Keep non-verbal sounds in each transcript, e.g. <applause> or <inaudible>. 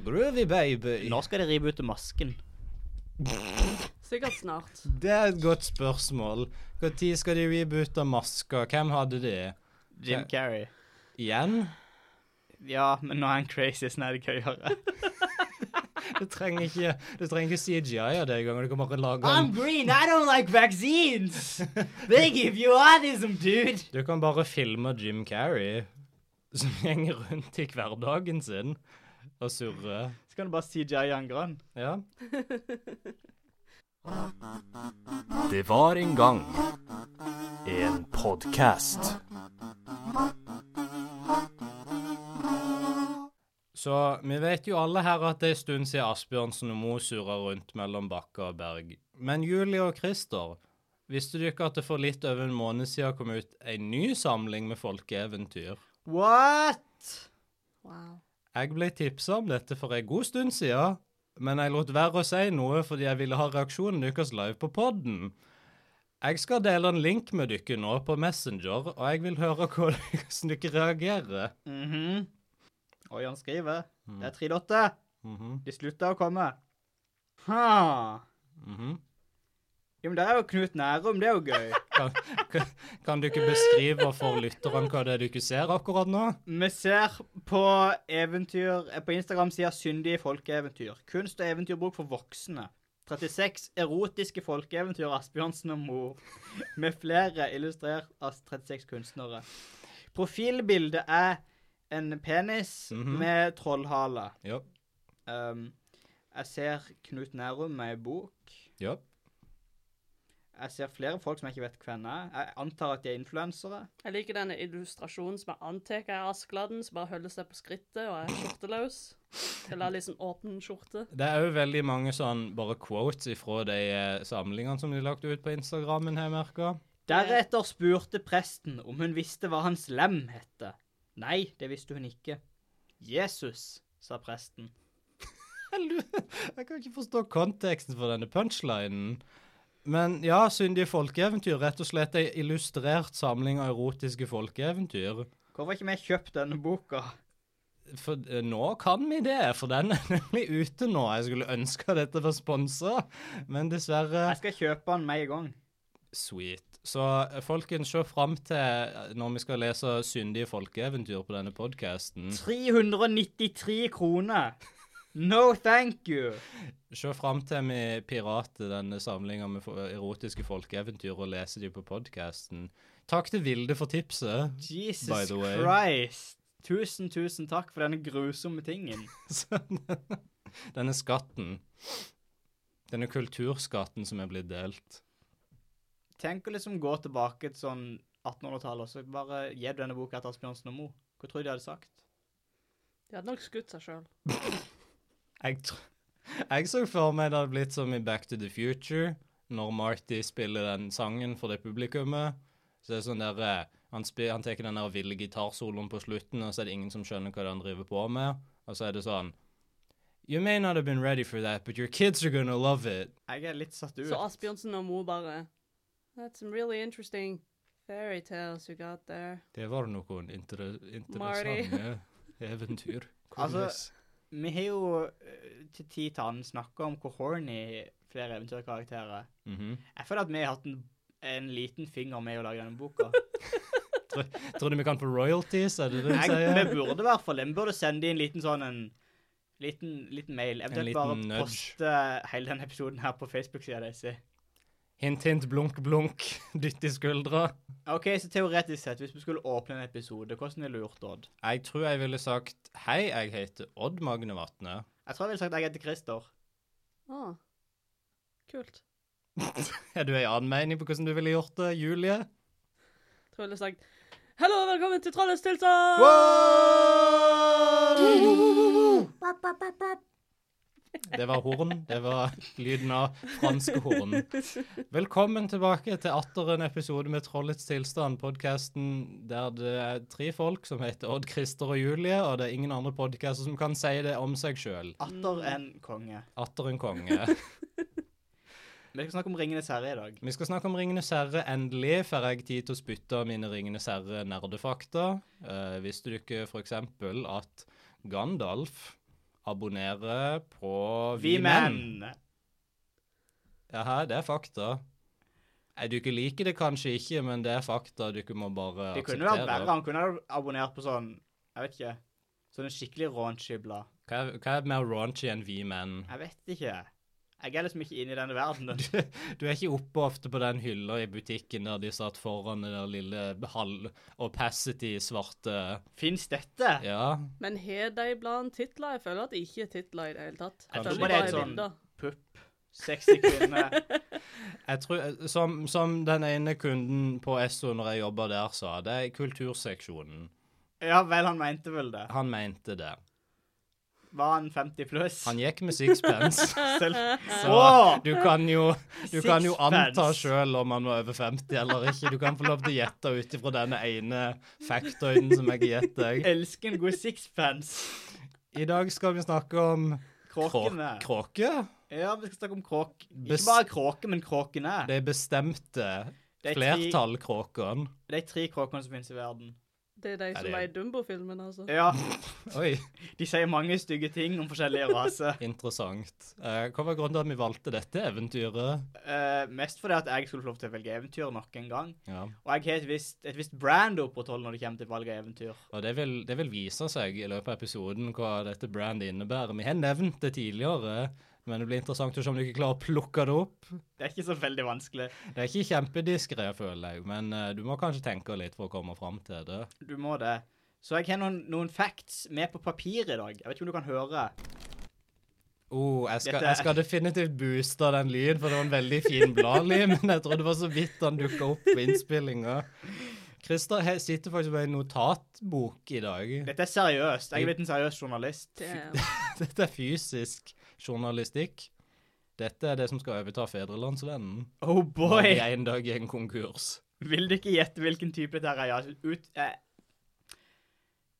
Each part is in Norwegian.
Groovy baby. Når skal de rive ut masken? Sikkert snart. Det er et godt spørsmål. Når skal de reboote masker? Hvem hadde de? Ja. Jim Carrey. Igjen? Ja, men nå er han crazy, sånn er det gøyere. Du trenger ikke, du trenger ikke CGI av det engang. Du kan bare lage <laughs> I'm en, green, I don't like vaccines! They give you autism, dude! Du kan bare filme Jim Carrey som <laughs> gjenger rundt i hverdagen sin og surrer. Så kan du bare CGI han grønn. Ja. Det var en gang en podkast. Så vi vet jo alle her at det er en stund siden Asbjørnsen og Mo surra rundt mellom Bakka og Berg. Men Julie og Christer, visste du ikke at det for litt over en måned siden kom ut en ny samling med folkeeventyr? What? Wow. Jeg ble tipsa om dette for en god stund siden, men jeg lot være å si noe fordi jeg ville ha reaksjonen deres live på podden. Jeg skal dele en link med dere nå på Messenger, og jeg vil høre hvordan <laughs> dere reagerer. Mhm. Oi, han skriver. Det er tre dotter. Mhm, De slutter å komme. Ha. mhm. Jo, men det er jo Knut Nærum, det er jo <laughs> gøy. Kan, kan, kan du ikke beskrive for lytterne hva det er du ikke ser akkurat nå? Vi ser på eventyr eh, På Instagram-sida Syndige folkeeventyr. Kunst- og eventyrbok for voksne. 36 erotiske folkeeventyr av Asbjørnsen og Mor. Med flere illustrert av 36 kunstnere. Profilbildet er en penis Mhm. med trollhale. Ja. Um, jeg ser Knut Nærum med ei bok. Ja. Jeg ser flere folk som jeg ikke vet hvem er. Jeg antar at de er influensere. Jeg liker denne illustrasjonen som er antatt av Askeladden, som bare holder seg på skrittet og er skjorteløs. Eller har litt sånn åpen skjorte. Det er jo veldig mange sånn bare quotes ifra de eh, samlingene som de lagt ut på Instagrammen, har jeg merka. Deretter spurte presten om hun visste hva hans lem hette. Nei, det visste hun ikke. Jesus, sa presten. Jeg lurer- <laughs> jeg kan ikke forstå konteksten for denne punchlinen. Men ja, syndige folkeeventyr. Rett og slett ei illustrert samling av erotiske folkeeventyr. Hvorfor har ikke vi kjøpt denne boka? For eh, nå kan vi det, for den er <laughs> nemlig ute nå. Jeg skulle ønske dette var sponsa, men dessverre Jeg skal kjøpe den med en gang. Sweet. Så eh, folkens, se fram til eh, når vi skal lese syndige folkeeventyr på denne podkasten. 393 kroner! No thank you! Se fram til vi pirater denne samlinga med fo- erotiske folkeeventyr og leser de på podkasten. Takk til Vilde for tipset. <laughs> By Jesus the way. Christ. Tusen, tusen takk for denne grusomme tingen. Sånn. Denne skatten. Denne kulturskatten som er blitt delt. Tenk å liksom gå tilbake til sånn 1800-tallet, og så bare gi denne boka til Asbjørnsen og Mo. Hva tror du de hadde sagt? De hadde nok skutt seg sjøl. Jeg, tr- jeg så for meg det hadde blitt som i Back to the Future, når Marty spiller den sangen for det publikummet. Så det er sånn der, eh, Han, spi- han tar den der ville gitarsoloen på slutten, og så er det ingen som skjønner hva det er han driver på med. Og så er det sånn You may not have been ready for that, but your kids are gonna love it. Jeg er litt satt ut. Så Asbjørnsen og Mo bare That's some really interesting fairy tales you got there. Det var noen inter interessante <laughs> Marty. eventyr. Altså, Hvordan- Vi har jo eh, til tid til annen snakka om hvor horny flere eventyrkarakterer er. Mhm. Jeg føler at vi har hatt en, en liten finger med i å lage denne boka. Tror- Tror du vi kan få royalties, er det det du Jeg, vi sier? burde i hvert fall det. Vi burde sende inn en liten sånn en liten, liten mail. Eventuelt bare liten nudge. poste hele denne episoden her på Facebook-sida deres. Hint, hint, blunk, blunk. <laughs> Dytt i skuldra. OK, så teoretisk sett, hvis vi skulle åpne en episode, hvordan ville du gjort, Odd? Jeg tror jeg ville sagt Hei, jeg heter Odd Magne Vatne. <laughs> Jeg tror jeg ville sagt jeg heter Christer. Ah. Kult. Er du ei annen mening på hvordan du ville gjort det, Julie? Tror jeg ville sagt Hallo, og velkommen til Trollets tilstand! Det var horn. Det var lyden av franske horn. Velkommen tilbake til atter en episode med Trollets tilstand, podkasten der det er tre folk som heter Odd, Christer og Julie, og det er ingen andre podkaster som kan si det om seg sjøl. Atter en konge. Atter en konge. Vi skal snakke om Ringenes herre i dag. Vi skal snakke om Ringenes herre. Endelig får jeg tid til å spytte av mine Ringenes herre-nerdefakta. Eh, visste du ikke f.eks. at Gandalf abonnere på Vi menn. Jaha, det er fakta. Nei, Du ikke liker det kanskje ikke, men det er fakta du ikke må bare Det kunne vært verre. akseptere. Han kunne ha abonnert på sånn Jeg vet ikke. Sånne skikkelig raunchy blad. Hva er, hva er mer raunchy enn vi menn? <laughs> Jeg vet ikke. Jeg er liksom ikke inne i denne verdenen. Du, du er ikke oppe ofte på den hylla i butikken der de satt foran den der lille halv opacity svarte Fins dette? Ja, Men har de blant titler? Jeg føler at det ikke er titler i det hele tatt. Kanskje. Jeg Jeg tror bare det føler bare er er sånn- bilder. Pupp. Sexy kvinne. Jeg tror, eh, som, som den ene kunden på Esso når jeg jobba der, sa, det er kulturseksjonen. Ja vel, han mente vel det. Han mente det. Var han 50 pluss? Han gikk med <laughs> sixpence. Selv... Så Åh! du kan jo, du kan jo Sixpence. anta sjøl om han var over 50 eller ikke. Du kan få lov til å gjette ut ifra denne ene factoiden som jeg har gitt deg. Elsker en god sixpence. I dag skal vi snakke om krå- Kråkene. kråke. Ja, vi skal snakke om kråk. Ikke Bes- bare kråke, men kråkene. De bestemte De tre- flertallkråkene. De tre kråkene som finnes i verden. Det er de som det er- er i Dumbo-filmen, altså. Ja, Oi, de sier mange stygge ting om forskjellige raser. interessant. Eh, Hva var grunnen til at vi valgte dette eventyret? Eh, mest fordi at jeg skulle få lov til å velge eventyr nok en gang. Ja. Og jeg har et visst, et visst brand å opprettholde når det kommer til valg av eventyr. Og det vil, det vil vise seg i løpet av episoden hva dette brandet innebærer. Vi har nevnt det tidligere, men det blir interessant å se om du ikke klarer å plukke det opp. Det er ikke så veldig vanskelig. Det er ikke kjempediskré, føler jeg, men eh, du må kanskje tenke litt for å komme fram til det. Du må det. Så jeg har noen, noen facts med på papir i dag. Jeg vet ikke om du kan høre. Oh, jeg skal, Dette er- jeg skal definitivt booste den lyden, for det var en veldig fin bladlyd, <laughs> men jeg tror det var så vidt den dukka opp på innspillinga. Christer he- sitter faktisk med en notatbok i dag. Dette er seriøst. Jeg er blitt en seriøs journalist. Det er- Dette er fysisk journalistikk. Dette er det som skal overta Fedrelandsvennen. Oh Når boy! vi en dag er en konkurs. Vil du ikke gjette hvilken type dette her er? Ja, Ut, eh,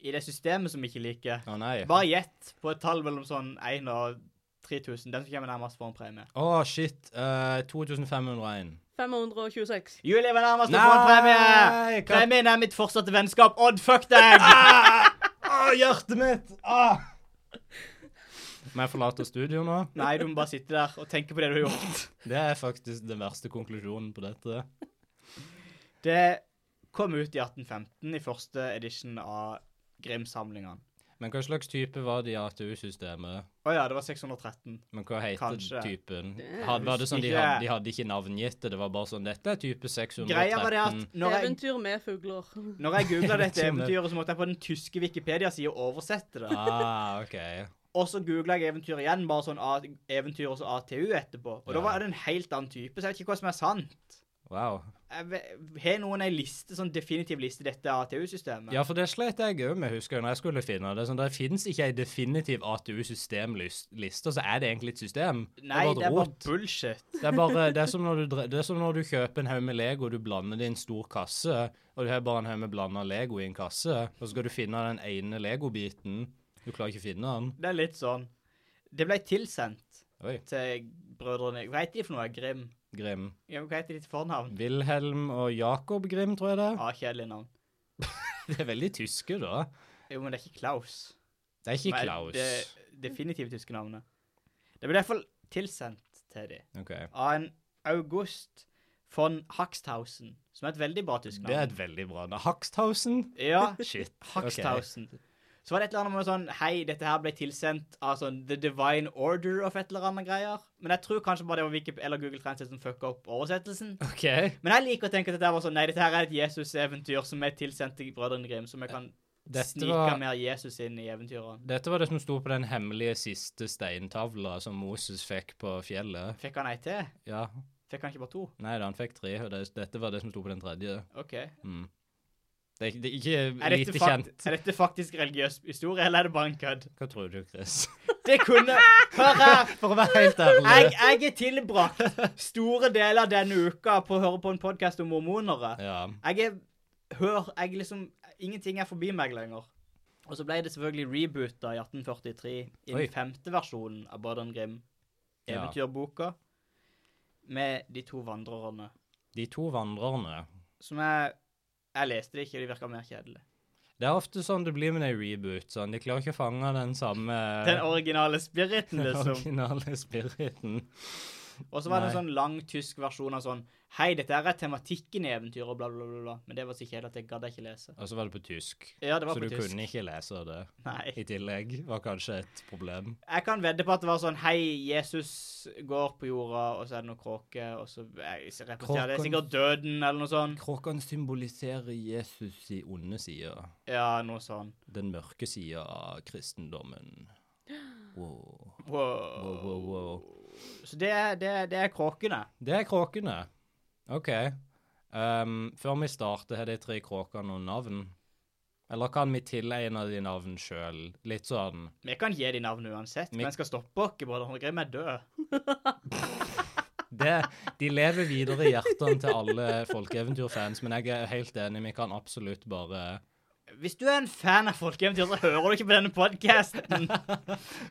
I det systemet som vi ikke liker. Å nei. Å, Bare gjett på et tall mellom sånn 1 og 3000. Den som kommer nærmest, får en premie. shit. eh, 2501. 526. Julie var nærmest å få en premie! Nei, hva- Premien er mitt fortsatte vennskap. Odd, fuck deg! Å, Ah! hjertet mitt! Ah! Må jeg forlate studio nå? Nei, du må bare sitte der og tenke på det du har gjort. Det er faktisk den verste konklusjonen på dette. Det kom ut i 1815 i første edition av Grim-samlingene. Men hva slags type var det i ATU-systemet? Å ja, det var 613. Men hva heter Kanskje. typen? Det Had, var det sånn de husker hadde, jeg. de hadde ikke navngitt det? Det var bare sånn Dette er type 613. Greia var det at når jeg, Eventyr med fugler. når jeg googla dette Eventyr med- eventyret, så måtte jeg på den tyske Wikipedia-sida oversette det. Ah, OK. Og så googla jeg eventyr igjen, bare sånn A eventyr og så ATU etterpå. Og da Ja. var det en helt annen type, så jeg vet ikke hva som er sant. Wow. Jeg ve- Har noen ei liste, sånn definitiv liste, dette ATU-systemet? Ja, for det slet jeg òg med, husker jeg, når jeg skulle finne det. Sånn, det fins ikke ei definitiv ATU-systemliste, så er det egentlig et system. Nei, det er et bare rot. bullshit. Det er bare Det er som når du, dre- det er som når du kjøper en haug med Lego, du blander det i en stor kasse, og du har bare en haug med blanda Lego i en kasse, og så skal du finne den ene Lego-biten. Du klarer ikke å finne den. Det er litt sånn. Det ble tilsendt Oi. til brødrene Hva heter de for noe? Grim? Grim. Ja, men Hva heter de til fornavn? Wilhelm og Jakob Grim, tror jeg det. er. <laughs> Ja, kjedelig navn. Det er veldig tyske, da. Jo, men det er ikke Klaus. Det er ikke Nei, Klaus. Det definitivt tyske navnet. Det ble i hvert fall tilsendt til dem OK. av en August von Haxthausen, som er et veldig bra tysk Det er navn. et veldig bra navn. Haxthausen? <laughs> Ja, <laughs> Shit. Haxthausen. Så var det et eller annet med sånn Hei, dette her ble tilsendt av sånn The Divine Order of et eller annet greier. Men jeg tror kanskje bare det var Wiki eller Google Translate som fucka opp oversettelsen. OK. Men jeg liker å tenke at dette her var sånn Nei, dette her er et Jesus-eventyr som er tilsendt til Brødrene Grim, som jeg kan Dette snike var mer Jesus inn i eventyrene. Dette var det som sto på den hemmelige siste steintavla som Moses fikk på fjellet. Fikk han ei til? Ja, Fikk han ikke bare to? nei da, han fikk tre, og det, dette var det som sto på den tredje. OK. Mm. Det, er ikke- det er ikke Er dette, lite fakt kjent. er dette faktisk religiøs historie, eller er det bare en kødd? Hva tror du, <laughs> Chris? Det kunne Hør her! For å være helt Jeg, ærlig. jeg er tilbrakt store deler av denne uka på å høre på en podkast om mormonere. Ja, Jeg er Hør, jeg liksom Ingenting er forbi meg lenger. Og så ble det selvfølgelig reboota i 1843 i Oi. den femte versjonen av Brødrene Grim. Ja. Eventyrboka. Med de to vandrerne. de to vandrerne. Som jeg Jeg leste det ikke, og de virka mer kjedelig. Det er ofte sånn det blir med en reboot. sånn. De klarer ikke å fange den samme Den originale <laughs> spiriten, liksom. originale spiriten. Og så var det en Nei. sånn lang tysk versjon av sånn Hei, dette her er tematikken i eventyret, og bla, bla, bla. bla. Men det var så kjedelig at jeg gadd ikke lese. Og så var det på tysk. Ja, det var Så du på tysk. kunne ikke lese det. Nei. I tillegg var kanskje et problem. Jeg kan vedde på at det var sånn Hei, Jesus går på jorda, og så er det noen kråke, og så jeg representerer det Kråken- sikkert døden, eller noe sånn. sånt. Kråkene symboliserer Jesus i onde sider. Ja, noe sånn. Den mørke sida av kristendommen. Wow. Wow. Wow, wow, wow. Så det er, det, er- det er kråkene. Det er kråkene. OK. Ehm, før vi starter, har de tre kråkene noen navn? Eller kan vi tilegne de navn sjøl? Litt sånn Vi kan gi de navn uansett, Vi- men skal stoppe oss. Brødrene Grim er død. det, De lever videre i hjertene til alle folkeeventyrfans, men jeg er helt enig, vi kan absolutt bare Hvis du er en fan av folkeeventyr, så hører du ikke på denne <laughs> podkasten.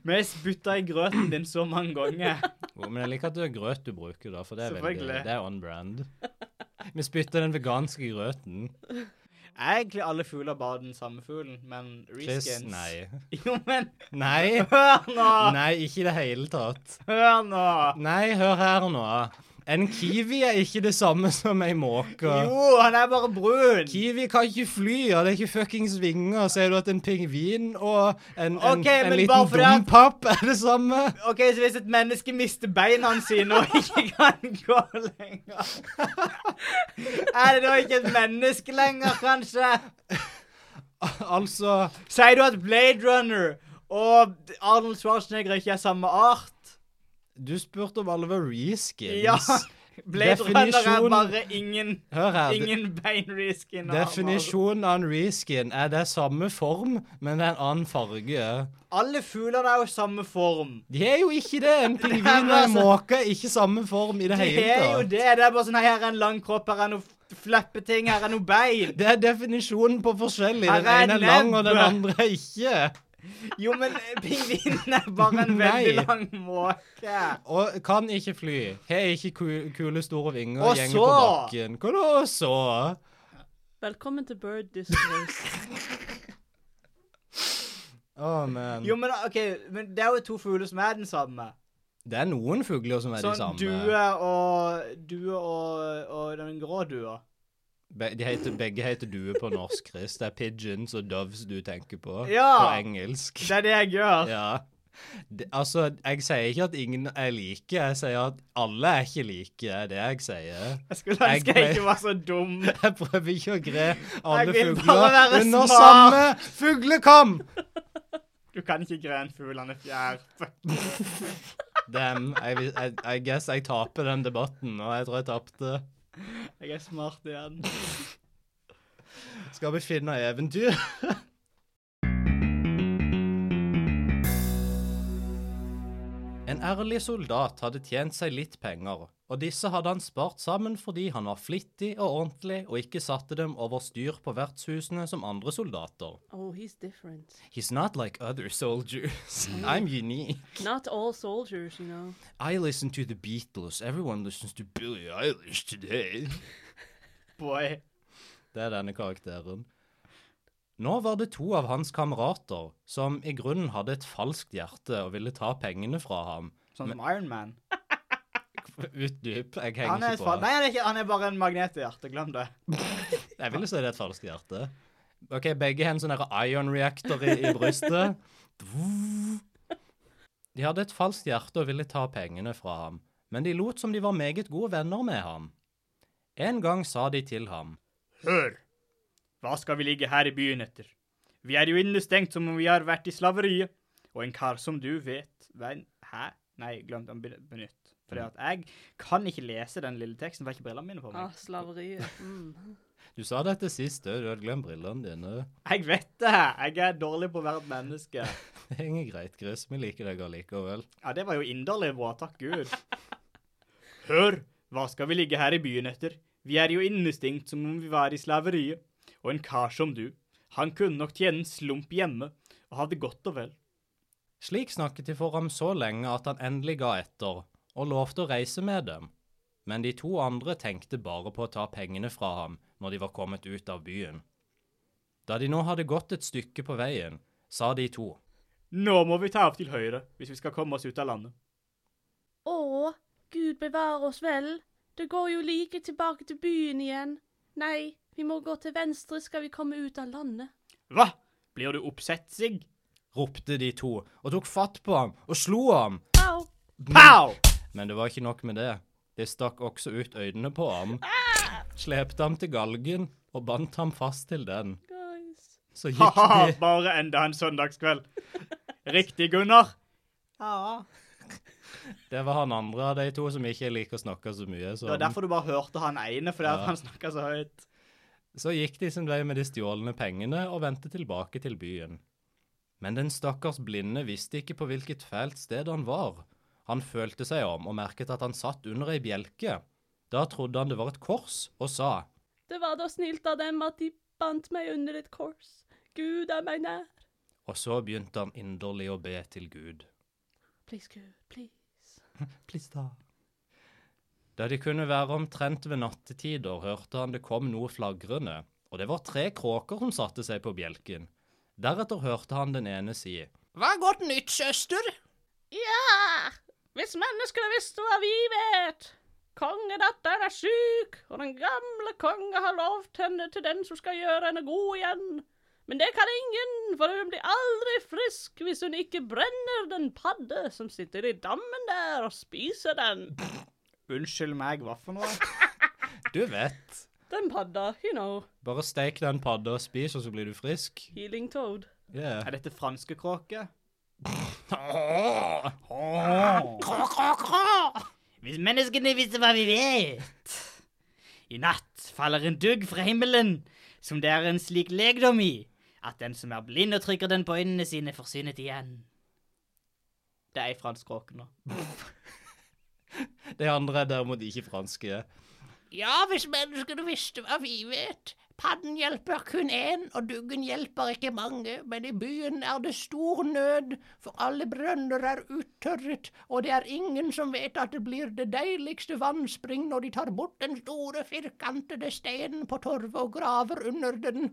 Vi har spytta i grøten din så mange ganger. Jo, Men jeg liker at det er grøt du bruker, da, for det er veldig Selvfølgelig. Det er on brand. Vi spytter den veganske grøten. Egentlig alle fugler bare den samme fuglen, men Chris, reskins nei. Jo, men Nei! hør nå! Nei, ikke i det hele tatt. Hør nå! Nei, hør her nå. En kiwi er ikke det samme som ei måke. Jo, han er bare brun. Kiwi kan ikke fly, og det er ikke fuckings vinger. Ser du at en pingvin og en, en, Ok, en men bare liten fordi at- dompapp er det samme? OK, så hvis et menneske mister beina sine og ikke kan gå lenger Er det da ikke et menneske lenger, kanskje? Altså Sier du at Blade Runner og Arnold Schwarzenegger ikke er samme art? Du spurte om alle var reskins. Ja. Blade Runner er Definisjon- bare ingen, Hør her. de- ingen beinreskin. og Definisjonen av en reskin er det samme form, men det er en annen farge. armer. Alle fuglene er jo samme form. De er jo ikke det. <laughs> En pingvin og bare en så- måke er ikke samme form i det Det hele altså- er jo tatt. det. Det er bare sånn Her er en lang kropp, her er noe f- fleppeting, her er noe bein. Det er definisjonen på forskjellig. Den Her er ene er lang, nebb. og den andre er ikke. Jo, men eh, pingvinen er bare <laughs> en Nei. veldig lang måke. Og kan ikke fly. Har ikke ku- kule, store vinger Og og gjenger så- på bakken. Hva da, og så? Velkommen til Bird <laughs> Discourse. Å, men Jo, men OK, men det er jo to fugler som er den samme. Det er noen fugler som er de Sånn samme. due og Due og, og den grå dua. Be de heter, begge heter due på norsk, Chris. Det er pigeons og doves du tenker på. På Ja. engelsk. Det er det jeg gjør. Ja. Det, altså, jeg sier ikke at ingen er like, jeg sier at alle er ikke like, det er det jeg sier. Jeg skulle ønske jeg Jeg- ikke var så dum. Jeg prøver ikke å gre alle Jeg vil fugler bare være under smart. samme fuglekam! Du kan ikke gre en fugl, han er fjær. Damn, jeg, vil- jeg, I guess jeg taper den debatten, og jeg tror jeg tapte. Jeg er smart igjen. Skal vi finne eventyr? <laughs> En ærlig soldat hadde tjent seg litt penger, og disse hadde han spart sammen fordi han var flittig og ordentlig og ikke satte dem over styr på vertshusene som andre soldater. Oh, he's different. He's not like other soldiers. <laughs> I'm unique. Not all soldiers, you know. I listen to the Beatles. Everyone listens to Billie Eilish today. Boy. <laughs> Det er denne karakteren. Nå var det to av hans kamerater som i grunnen hadde et falskt hjerte og ville ta pengene fra ham. Sånn som Iron Man. Utdyp. Jeg Han henger er, ikke fa- på. nei, han, er ikke, han er bare en magnet i hjertet. Glem det. Jeg ville si det er et falskt hjerte. Ok, begge har en sånn her ion reactor i, i brystet. De hadde et falskt hjerte og ville ta pengene fra ham, men de lot som de var meget gode venner med ham. En gang sa de til ham, Hør! Hva skal vi ligge her i byen etter? Vi er jo innestengt som om vi har vært i slaveriet, og en kar som du vet Ven... Hæ? Nei, glem den be- benytt. Fordi at jeg kan ikke lese den lille teksten, for jeg har ikke brillene mine på Ah, meg. slaveriet. Mm. du sa dette sist, du hadde glemt brillene dine. Jeg vet det! Jeg er dårlig på å være et menneske. Det henger greit, Chris. Vi liker deg allikevel. Ja, det var jo inderlig bra, takk Gud. Hør! Hva skal vi ligge her i byen etter? Vi er jo innestengt som om vi var i slaveriet, og en kar som du, han kunne nok tjene en slump hjemme, og hadde godt og vel. Slik snakket de for ham så lenge at han endelig ga etter, og lovte å reise med dem. Men de to andre tenkte bare på å ta pengene fra ham når de var kommet ut av byen. Da de nå hadde gått et stykke på veien, sa de to. Nå må vi ta av til høyre hvis vi skal komme oss ut av landet. <laughs> Å, Gud bevare oss vel. Det går jo like tilbake til byen igjen. Nei, vi må gå til venstre skal vi komme ut av landet. Hva? Blir du oppsetsig? ropte de to, og tok fatt på ham og slo ham. Au! Pow! Men det var ikke nok med det. De stakk også ut øynene på ham, slepte ham til galgen og bandt ham fast til den. Guys. Så gikk Ha-ha, de, bare enda en søndagskveld. Riktig, Gunnar. Ja. det var han andre av de to som ikke jeg liker å snakke så mye Det som. var derfor du bare hørte han ene, fordi at Ja. han snakka så høyt. Så gikk de sin vei med de stjålne pengene og vendte tilbake til byen. Men den stakkars blinde visste ikke på hvilket fælt sted han var. Han følte seg om og merket at han satt under ei bjelke. Da trodde han det var et kors, og sa Det var da snilt av dem at de bandt meg under et kors. Gud er meg nær. Og så begynte han inderlig å be til Gud. Please, Gud, please. Da de kunne være omtrent ved nattetider, hørte han det kom noe flagrende, og det var tre kråker som satte seg på bjelken. Deretter hørte han den ene si, Hva er godt nytt, søster? Ja! Hvis menneskene visste hva vi vet! Kongedatteren er syk, og den gamle konge har lovt henne til den som skal gjøre henne god igjen. Men det kan ingen, for hun blir aldri frisk hvis hun ikke brenner den padde som sitter i dammen der og spiser den. Unnskyld meg, hva for noe? Du vet. Den padda, you know, Bare steik den padda og spis, og så blir du frisk. healing toad. Yeah. Er dette franske kråke? Hvis menneskene visste hva vi vet I natt faller en dugg fra himmelen, som det er en slik legdom i, at den som er blind og trykker den på øynene sine, forsynet igjen. Det er ei fransk kråke nå. De andre er derimot ikke franske. Ja, hvis menneskene visste hva vi vet. Padden hjelper kun én, og duggen hjelper ikke mange, men i byen er det stor nød, for alle brønner er uttørret, og det er ingen som vet at det blir det deiligste vannspring når de tar bort den store, firkantede steinen på torvet og graver under den.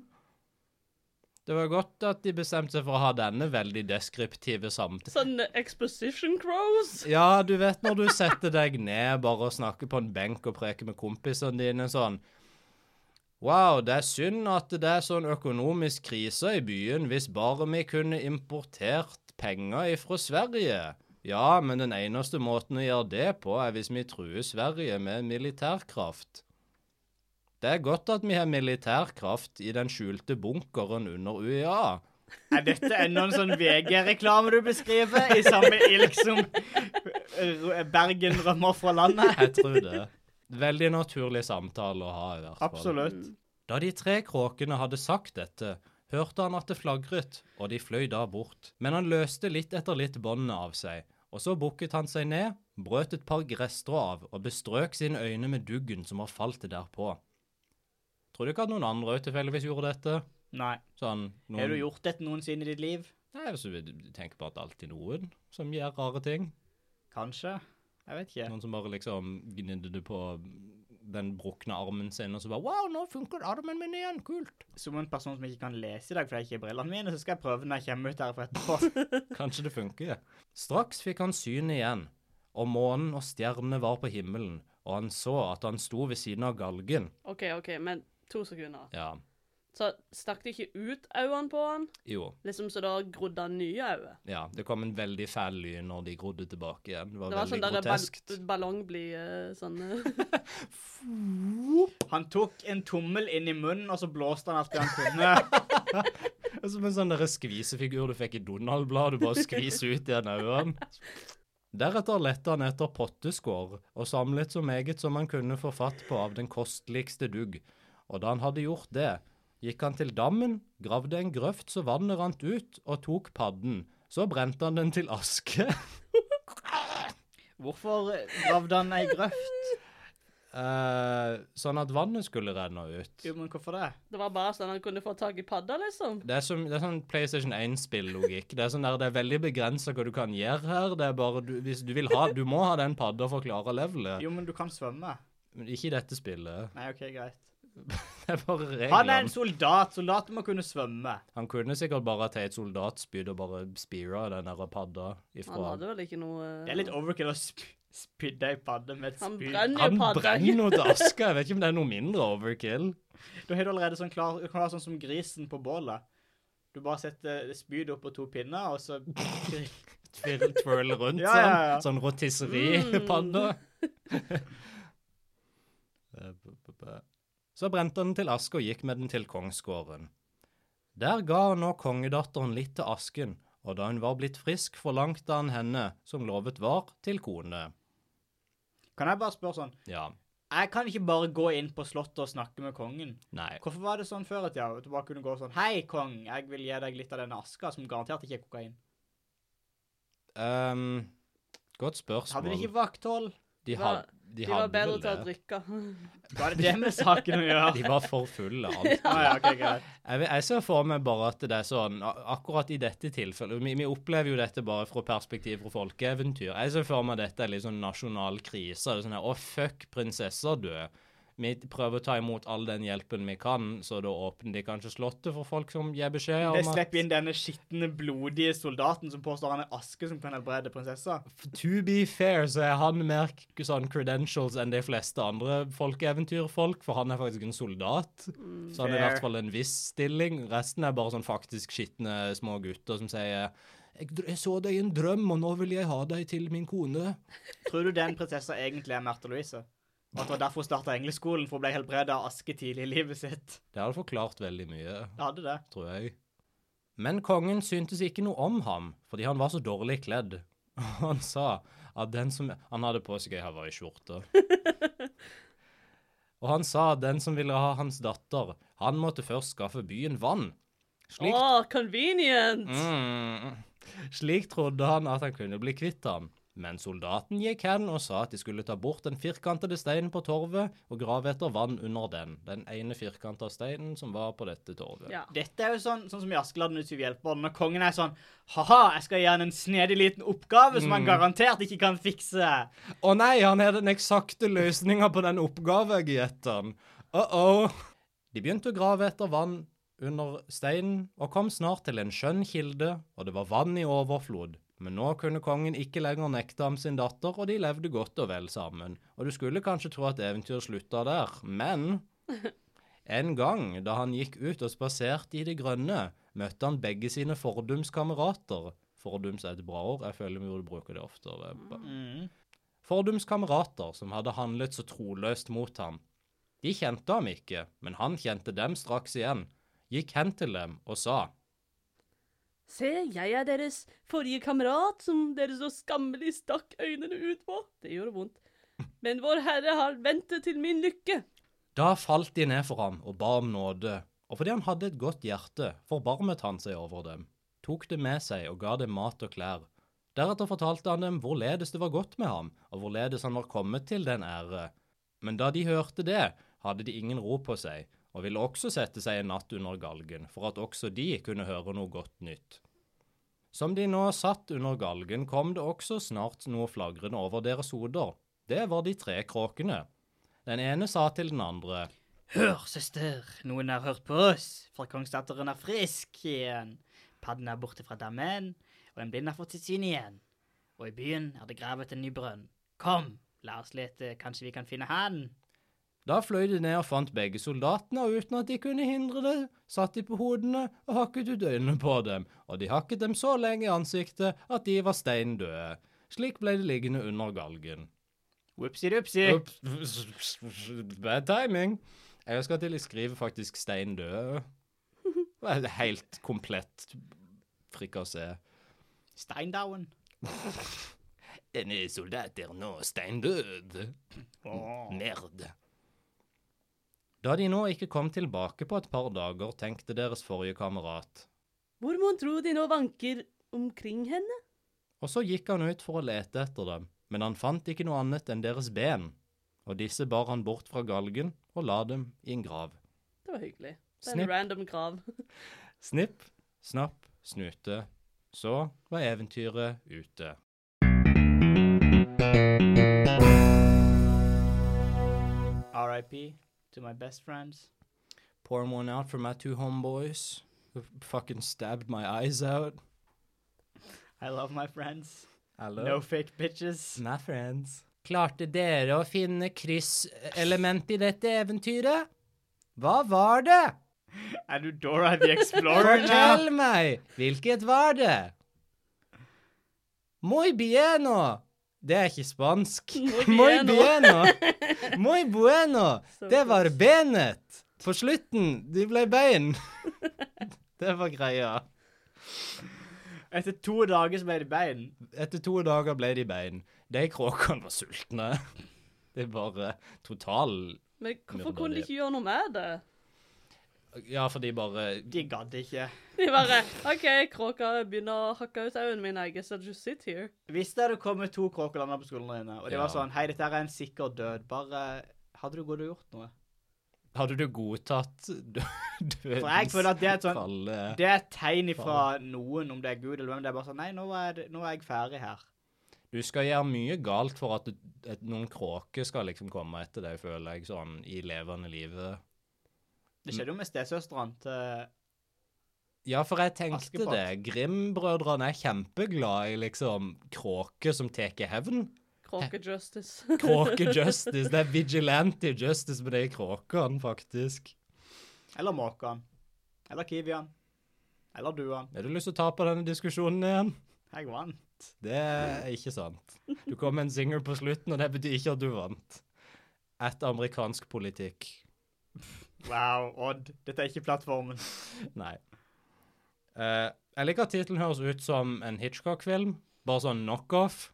Det var godt at de bestemte seg for å ha denne veldig deskriptive samtalen. Sånn exposition crows. Ja, du vet når du setter deg ned bare og snakker på en benk og preker med kompisene dine sånn Wow, det er synd at det er sånn økonomisk krise i byen hvis bare vi kunne importert penger ifra Sverige. Ja, men den eneste måten å gjøre det på er hvis vi truer Sverige med militærkraft. Det er godt at vi har militærkraft i den skjulte bunkeren under UiA. Er dette enda en sånn VG-reklame du beskriver, i samme ilk som R- Bergen rømmer fra landet? Jeg tror det. Veldig naturlig samtale å ha, i hvert fall. Absolutt. Da de tre kråkene hadde sagt dette, hørte han at det flagret, og de fløy da bort. Men han løste litt etter litt båndene av seg, og så bukket han seg ned, brøt et par gresstrå av og bestrøk sine øyne med duggen som var falt derpå. Tror du ikke at noen andre også tilfeldigvis gjorde dette? Nei. Sånn noen... Har du gjort dette noensinne i ditt liv? Nei, så vi tenker på at det er alltid noen som gjør rare ting. Kanskje? Jeg vet ikke. Noen som bare liksom gnidde det på den brukne armen sin, og så bare Wow, nå funker armen min igjen! Kult! Som en person som ikke kan lese i dag fordi jeg ikke har brillene mine, så skal jeg prøve når jeg kommer ut herfra etterpå. Kanskje det funker. Straks fikk han syn igjen, og månen og stjernene var på himmelen, og han så at han sto ved siden av galgen. OK, OK, men to sekunder. Ja, Så stakk de ikke ut øynene på han? jo. Liksom så da grodde han nye øyne? Ja, det kom en veldig fæl lyd når de grodde tilbake igjen. Det var, Det var veldig sånn der groteskt. ball ballong blir eh, sånn eh, <laughs> Han tok en tommel inn i munnen, og så blåste han alt det han kunne. Som en sånn der skvisefigur du fikk i Donald-bladet, bare skvise ut igjen øynene. Deretter lette han etter potteskår, og samlet så meget som han kunne få fatt på av den kosteligste dugg. Og da han hadde gjort det, gikk han til dammen, gravde en grøft så vannet rant ut, og tok padden. Så brente han den til aske. <laughs> Hvorfor gravde han ei grøft? Eh, sånn at vannet skulle renne ut. Jo, men hvorfor det? Det var bare sånn han kunne få tak i padda, liksom. Det er, som, det er sånn PlayStation 1-spill-logikk. Det er sånn der, det er veldig begrensa hva du kan gjøre her. Det er bare, du, hvis du vil ha, du må ha den padda for å klare levelet. Jo, men du kan svømme. Men ikke i dette spillet. <laughs> Nei, OK, greit. Det er bare reglene. Han er en soldat. Soldater må kunne svømme. Han kunne sikkert bare tatt et soldatspyd og bare speara den der padda Han ifra. hadde vel ikke noe eh, Det er litt overkill å sp spydde ei padde med et Han spyd. brenner Han jo padda. brenner noe til aske. Jeg vet ikke om det er noe mindre overkill. Da har du allerede sånn klar, du kan være sånn som grisen på bålet. Du bare setter spydet opp på to pinner, og så Twirl- Twirl rundt Ja, ja, ja. sånn. Sånn rotisserie-padda. Eh, b- b- b- <laughs> Så brente han den til aske og gikk med den til kongsgården. Der ga han nå kongedatteren litt til asken, og da hun var blitt frisk, forlangte han henne, som lovet var, til kone. Kan jeg bare spørre sånn Ja. Jeg kan ikke bare gå inn på slottet og snakke med kongen. Nei. Hvorfor var det sånn før i tida? At du bare kunne gå sånn Hei, kong, jeg vil gi deg litt av denne aska, som garantert ikke er kokain. Ehm, godt spørsmål. Hadde de ikke vakthold? De, Hva- had, de, De var hadde bedre vel til å det. drikke. <laughs> Hva er det det med saken å De <laughs> gjøre? var for fulle. altså. alt. Ah, ja, ok, greit. Jeg, vil- jeg ser for meg bare at det er sånn a- Akkurat i dette tilfellet Vi, vi opplever jo dette bare fra perspektiv fra folkeeventyr. Jeg ser for meg dette er litt sånn nasjonal krise. Det er sånn her Å, fuck, prinsesser dør. Vi prøver å ta imot all den hjelpen vi kan, så da åpner de kanskje slottet for folk som gir beskjed Jeg om at slipper inn denne skitne, blodige soldaten som påstår han er aske som kan helbrede prinsessa. To be fair, så er han mer k- sånn credentials enn de fleste andre folkeeventyrfolk, for han er faktisk en soldat. Så han er i Fair. hvert fall en viss stilling. Resten er bare sånn faktisk skitne små gutter som sier jeg, dr- jeg så deg i en drøm, og nå vil jeg ha deg til min kone. Tror du den prinsessa egentlig er Märtha Louise? Og at det var derfor hun starta engleskolen, for å bli helbreda av aske tidlig i livet sitt? Det hadde forklart veldig mye, Jeg hadde det. tror jeg. Men kongen syntes ikke noe om ham, fordi han var så dårlig kledd. <laughs> Og han sa at den som Han hadde på seg ei hawaiiskjorte. Og han sa at den som ville ha hans datter, han måtte først skaffe byen vann. Å, Slik convenient! Mm. Slik trodde han at han kunne bli kvitt ham. Men soldaten gikk hen og sa at de skulle ta bort den firkantede steinen på torvet og grave etter vann under den. Den ene firkanta steinen som var på dette torvet. Ja. Dette er jo sånn, sånn som i Askeladden utsyv hjelper, når kongen er sånn Ha-ha, jeg skal gi han en snedig liten oppgave som han garantert ikke kan fikse. Å nei, han har den eksakte løsninga på den oppgaven jeg gitt han. Uh-oh. De begynte å grave etter vann under steinen og kom snart til en skjønn kilde, og det var vann i overflod. Men nå kunne kongen ikke lenger nekte ham sin datter, og de levde godt og vel sammen. Og du skulle kanskje tro at eventyret slutta der, men En gang da han gikk ut og spaserte i det grønne, møtte han begge sine fordumskamerater. Fordums er et bra ord, jeg føler vi burde bruke det oftere. Mm. Fordums kamerater som hadde handlet så troløst mot ham. De kjente ham ikke, men han kjente dem straks igjen, gikk hen til dem og sa Se, jeg er deres forrige kamerat, som dere så skammelig stakk øynene ut på. Det gjorde vondt. Men vår Herre har ventet til min lykke. Da falt de ned for ham og ba om nåde, og fordi han hadde et godt hjerte, forbarmet han seg over dem, tok det med seg og ga dem mat og klær. Deretter fortalte han dem hvorledes det var godt med ham, og hvorledes han var kommet til den ære. Men da de hørte det, hadde de ingen ro på seg, og ville også sette seg en natt under galgen, for at også de kunne høre noe godt nytt. Som de nå satt under galgen, kom det også snart noe flagrende over deres hoder. Det var de tre kråkene. Den ene sa til den andre Hør, søster, noen har hørt på oss, for kongsdatteren er frisk igjen. Padden er borte fra dammen, og en blind har fått sitt syn igjen. Og i byen er det gravet en ny brønn. Kom, la oss lete, kanskje vi kan finne han. Da fløy de ned og fant begge soldatene, og uten at de kunne hindre det, satt de på hodene og hakket ut øynene på dem, og de hakket dem så lenge i ansiktet at de var steindøde. Slik ble de liggende under galgen. Whoopsie-doopsie. Ups, Bad timing. Jeg husker at de skriver faktisk steindøde. Det er helt komplett frikassé. Steindauen. Denne soldat er nå steindød. Mm. Merd. Da de nå ikke kom tilbake på et par dager, tenkte deres forrige kamerat. Hvor mon tro de nå vanker omkring henne? Og så gikk han ut for å lete etter dem, men han fant ikke noe annet enn deres ben, og disse bar han bort fra galgen og la dem i en grav. Det var hyggelig. Det er en Snipp, random grav. <laughs> snipp, snapp, snute. Så var eventyret ute. RIP to my best friends. Pour one out for my two homeboys who fucking stabbed my eyes out. I love my friends. Hello. No fake bitches. My friends. Klarte dere å finne krysselement i dette eventyret? Hva var det? Er du Dora the Explorer now? Fortell meg! Hvilket var det? Muy bieno. Det er ikke spansk. Muy Muy bien. bieno. Muy <laughs> bueno. Det var benet. På slutten, de ble bein. <laughs> Det var greia. Etter to dager så ble det bein. Etter to dager ble de bein. De kråkene var sultne. Det er bare total Men hvorfor Myrda, kunne de det- ikke gjøre noe med det? Ja, for de bare De gadd ikke. De bare OK, kråka begynner å hakke ut øynene mine. I guess I just sit here. Hvis det hadde kommet to kråkelander på skolen dine, og det var Ja. sånn Hei, dette her er en sikker død. Bare Hadde du gått og gjort noe? Hadde du godtatt <laughs> dø- dødens For jeg føler at det er et sånn falle? Det er et tegn ifra noen, om det er Gud eller hvem. Det er bare sånn Nei, nå er, det, nå er jeg ferdig her. Du skal gjøre mye galt for at, du- at noen kråker skal liksom komme etter deg, føler jeg, sånn i levende livet. Det skjedde jo med stesøstrene til Ja, for jeg tenkte Askepott. det. Grim-brødrene er kjempeglad i liksom kråker som tar <laughs> hevn. Kråke-justice. <laughs> Kråke-justice. Det er vigilante justice på de kråkene, faktisk. Eller måkene. Eller kiwiene. Eller duene. Har du lyst til å ta på denne diskusjonen igjen? Jeg vant. Det er ikke sant. Du kom med en single på slutten, og det betyr ikke at du vant. Et amerikansk politikk. Wow, Odd. Dette er ikke plattformen. Nei. Eh, jeg liker at tittelen høres ut som en Hitchcock-film. Bare sånn knockoff.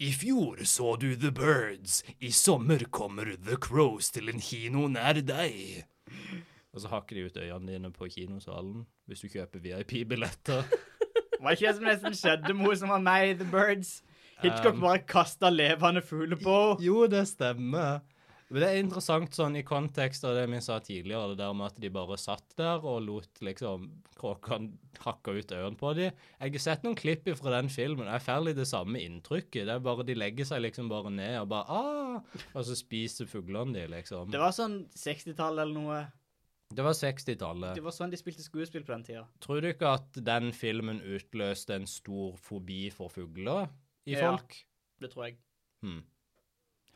I fjor så du The Birds. I sommer kommer The Crows til en kino nær deg. Og så hakker de ut øynene dine på kinosalen hvis du kjøper VIP-billetter. Var ikke det som nesten skjedde med hun som var med i The Birds? Hitchcock Um, bare kasta levende fugler på henne. Jo, det stemmer. Men det er interessant sånn i kontekst av det vi sa tidligere, det der med at de bare satt der og lot liksom kråkene hakke ut ørene på dem. Jeg har sett noen klipp fra den filmen, og jeg får litt det samme inntrykket. Det er bare de legger seg liksom bare ned og bare ah, og så spiser fuglene de, liksom. Det var sånn 60-tall eller noe. Det var Det 60-tallet. var sånn de spilte skuespill på den tida. Tror du ikke at den filmen utløste en stor fobi for fugler i Ja. folk? Det tror jeg. Hmm.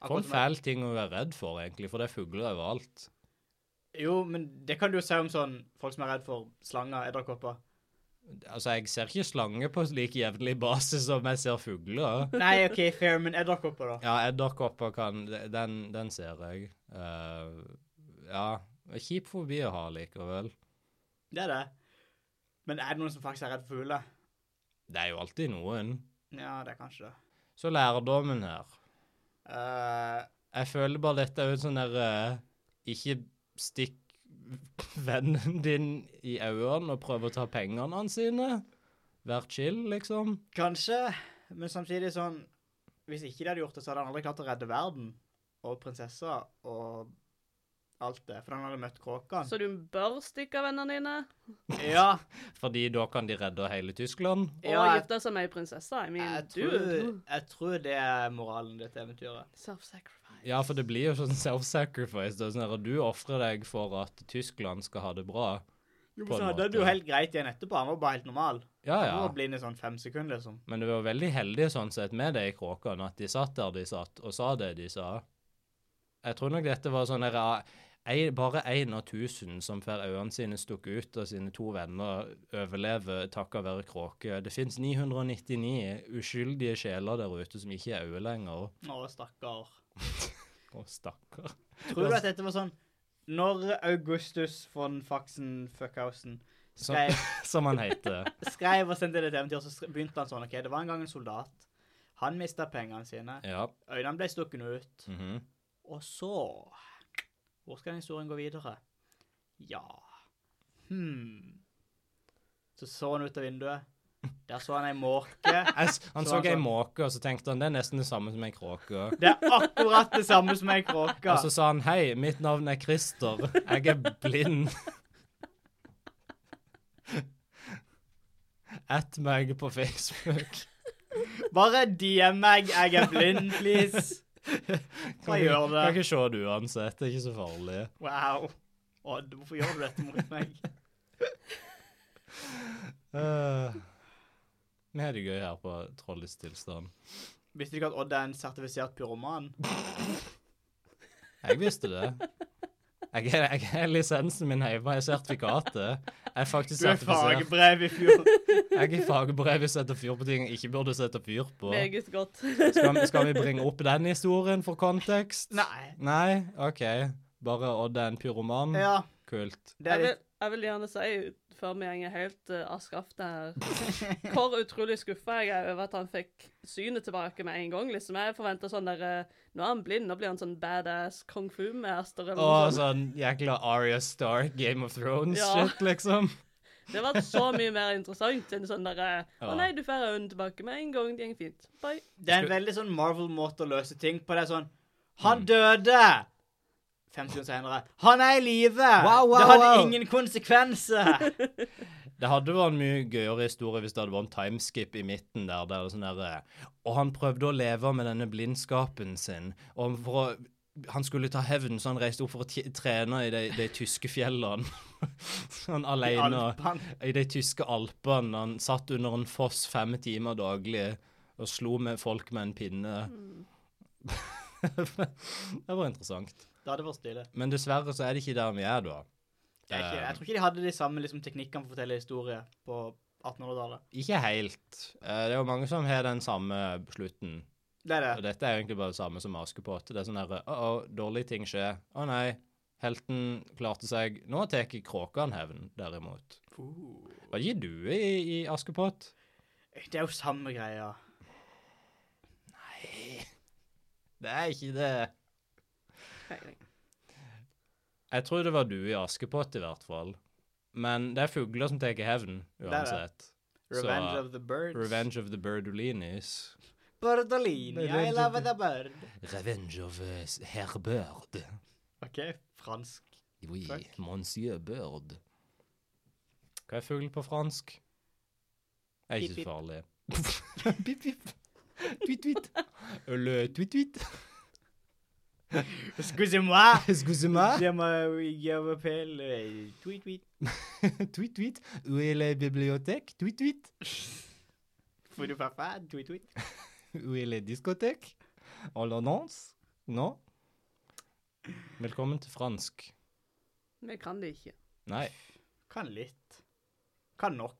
For Akkurat en som jeg- fæl ting å være redd for, egentlig, for det er fugler overalt. Jo, men det kan du jo si om sånn folk som er redd for slanger, edderkopper. Altså, jeg ser ikke slange på like jevnlig basis som jeg ser fugler. Nei, OK, fair, men edderkopper, da? Ja, edderkopper kan Den, den ser jeg. Eh, ja. Kjip fobi å ha likevel. Det er det. Men er det noen som faktisk er redd for fugler? Det er jo alltid noen. Ja, det er kanskje det. Så lærdommen her Eh, Jeg føler bare dette er jo en sånn der eh, Ikke stikk vennen din i øynene og prøv å ta pengene hans sine. Vær chill, liksom. kanskje, men samtidig sånn Hvis ikke de hadde gjort det, så hadde han aldri klart å redde verden og prinsessa og alt det. For han hadde møtt kråkene. Så du bør stikke av vennene dine Ja, Fordi da kan de redde hele Tyskland. og Ja, jeg- gifte seg med ei prinsesse? I mean, jeg dude. tror, jeg tror det er moralen i dette eventyret. Self-sacrifice. Ja, for det blir jo sånn self-sacrifice. Det er sånn at Du ofrer deg for at Tyskland skal ha det bra. Jo, På men en så hadde måte. det jo helt greit igjen etterpå. Han var bare helt normal. Ja, Han ja. var blind i sånn fem sekunder, liksom. Men du var veldig heldig sånn sett med de kråkene, at de satt der de satt, og sa det de sa. Jeg tror nok dette var sånn der, ah, ei- Bare én av tusen som får øynene sine stukket ut, og sine to venner overlever takket være kråker. Det fins 999 uskyldige sjeler der ute som ikke er øyne lenger. Å, stakkar. Å, stakkar. Tror du at dette var sånn Når Augustus von Faxen Fuckhausen skrev, <laughs> Som han heter. skrev og sendte det til eventyr, så skri- begynte han sånn OK, det var en gang en soldat. Han mista pengene sine. Ja. Øynene ble stukket ut. mhm. Og så Hvor skal den historien gå videre? Ja Hmm. Så så han ut av vinduet. Der så han ei måke. Jeg s- Han Så så han ei sa- måke, og så tenkte han det er nesten det samme som ei kråke. Det er akkurat det samme som ei kråke. Og så sa han hei, mitt navn er Christer, jeg er blind. At meg på Facebook. Bare DM meg, jeg er blind, please. Kan, Jeg gjør ikke- kan det. ikke se det uansett. Det er ikke så farlig. Wow. Odd, hvorfor gjør du dette mot meg? Eh, Vi har det gøy her på Trollets tilstand. Visste du ikke at Odd er en sertifisert pyroman? Jeg visste det. Jeg er, jeg er lisensen min hjemme, jeg er sertifikatet. Jeg er faktisk Du er sertifisert. fagbrev i fjor. Jeg er fagbrevet setter fyr på ting jeg ikke burde sette fyr på. Meget godt. Skal, skal vi bringe opp den historien for kontekst? Nei. Nei? OK. Bare Odd er en pyroman? Ja, Kult. det <laughs> Jeg er vil, litt jeg vil gjerne si, før vi går helt uh, av skaftet her, hvor utrolig skuffa jeg er over at han fikk synet tilbake med en gang. Liksom Jeg forventa sånn der eh, Nå er han blind, nå blir han sånn badass kung fu-mester eller Å, noe sånt. sånn jækla Aria Stark, Game of Ja. Thrones-shit, liksom. Det hadde vært så mye mer interessant enn sånn derre Å Ja. nei, du får øynene tilbake med en gang, det går fint. Bye. Det er en veldig sånn Marvel-måte å løse ting på. Det er sånn Mm. Han døde! Fem sekunder senere. Han er i live! Wow, wow, det hadde wow. ingen konsekvenser! <laughs> Det hadde vært en mye gøyere historie hvis det hadde vært en timeskip i midten der. der det er sånn der eh, og han prøvde å leve med denne blindskapen sin. Og for å, han skulle ta hevn, så han reiste opp for å t trene i de, de tyske fjellene. <laughs> sånn alene. Alpene. I de tyske alpene. Han satt under en foss fem timer daglig og slo med folk med en pinne. <laughs> det var interessant. Det hadde vært stilig. Men dessverre så er det ikke der vi er, da. Det er ikke, jeg tror ikke de hadde de samme liksom, teknikkene for å fortelle historier på 1800-tallet. Ikke helt. Eh, Det er jo mange som har den samme slutten. Det er Og det. dette er jo egentlig bare det samme som Askepott. Det er sånn derre Å, å, dårlige ting skjer. Å nei, helten klarte seg. Nå tar kråkene hevn, derimot. Var det ikke du i, i Askepott? Det er jo samme greia. Det er ikke det. Peiling. Jeg tror det var du i Askepott, i hvert fall. Men det er fugler som tar hevn, er det. uansett. Så, Revenge of the Birds. Revenge of the Birdulinis. Birdolini, I love the bird. Revenge of eh, Herr Bird. OK, <laughs> fransk. Oui, Takk. Monsieur Bird. Hva er fugl på fransk? Er ikke Pip, pip. så farlig. <laughs> Pip, pip. Tweet, tweet. <laughs> Le tweet tweet. Excusez-moi! Excusez-moi. <laughs> Je m'appelle euh, Tweet Tweet. tweet tweet. Où est la bibliothèque? Tweet tweet. Får du pappa? Tweet Tweet. <laughs> Où est la discothèque? On l'annonce? Non? Velkommen til fransk. Vi kan det ikke. Nei, <laughs> Kan litt. Kan nok.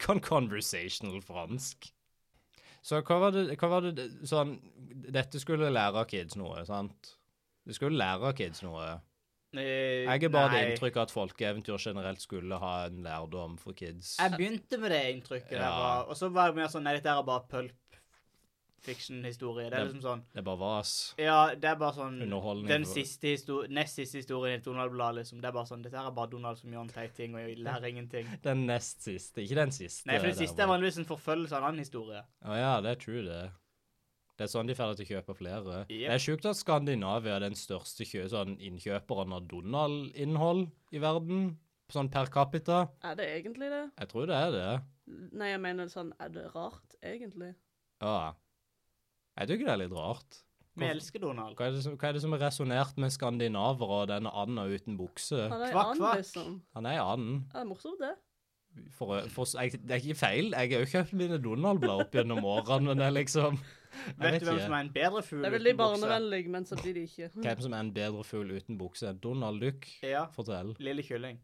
kan conversational fransk. Så hva var det, hva var det sånn, Dette skulle lære kids noe, sant? Det skulle lære kids noe. Eh, Jeg er bare det nei. inntrykk at folkeeventyr generelt skulle ha en lærdom for kids. Jeg begynte med det inntrykket, der, Ja. og så var jeg mer sånn Nei, dette her er bare pulp fiction-historie. Det er Det- liksom sånn Det er bare vas. Ja, det er bare sånn Underholdning Den for- siste histori nest siste historien i Donald-bladet, liksom. Det er bare sånn Dette her er bare Donald som gjør en teit ting, og jeg lærer ingenting. Den nest siste, ikke den siste. Nei, for det der siste er var- vanligvis en forfølgelse av en annen historie. Å ja, det er true, det. Det er sånn de får til å kjøpe flere. Yep. Det er sjukt at Skandinavia er den største kjø sånn innkjøperen av Donald-innhold i verden. Sånn per capita. Er det egentlig det? Jeg tror det er det. Nei, jeg mener sånn Er det rart, egentlig? Ja. Jeg tykker det er litt rart. Vi elsker Donald. Hva er det som, hva er, det som er resonnert med skandinavere og denne anda uten bukse? Han er Kvakk, en and, kvakk. liksom. Han er en and. Er det morsomt, det? For, for, jeg, det er ikke feil. Jeg har jo kjøpt mine Donald-blad opp gjennom årene, men det er liksom Jeg Vet du hvem som ikke. er en bedre fugl? Det er veldig uten bukse? barnevennlig, men samtidig ikke. Hvem som er en bedre fugl uten bukse? Donald Duck? Ja. Fortell. Lille kylling.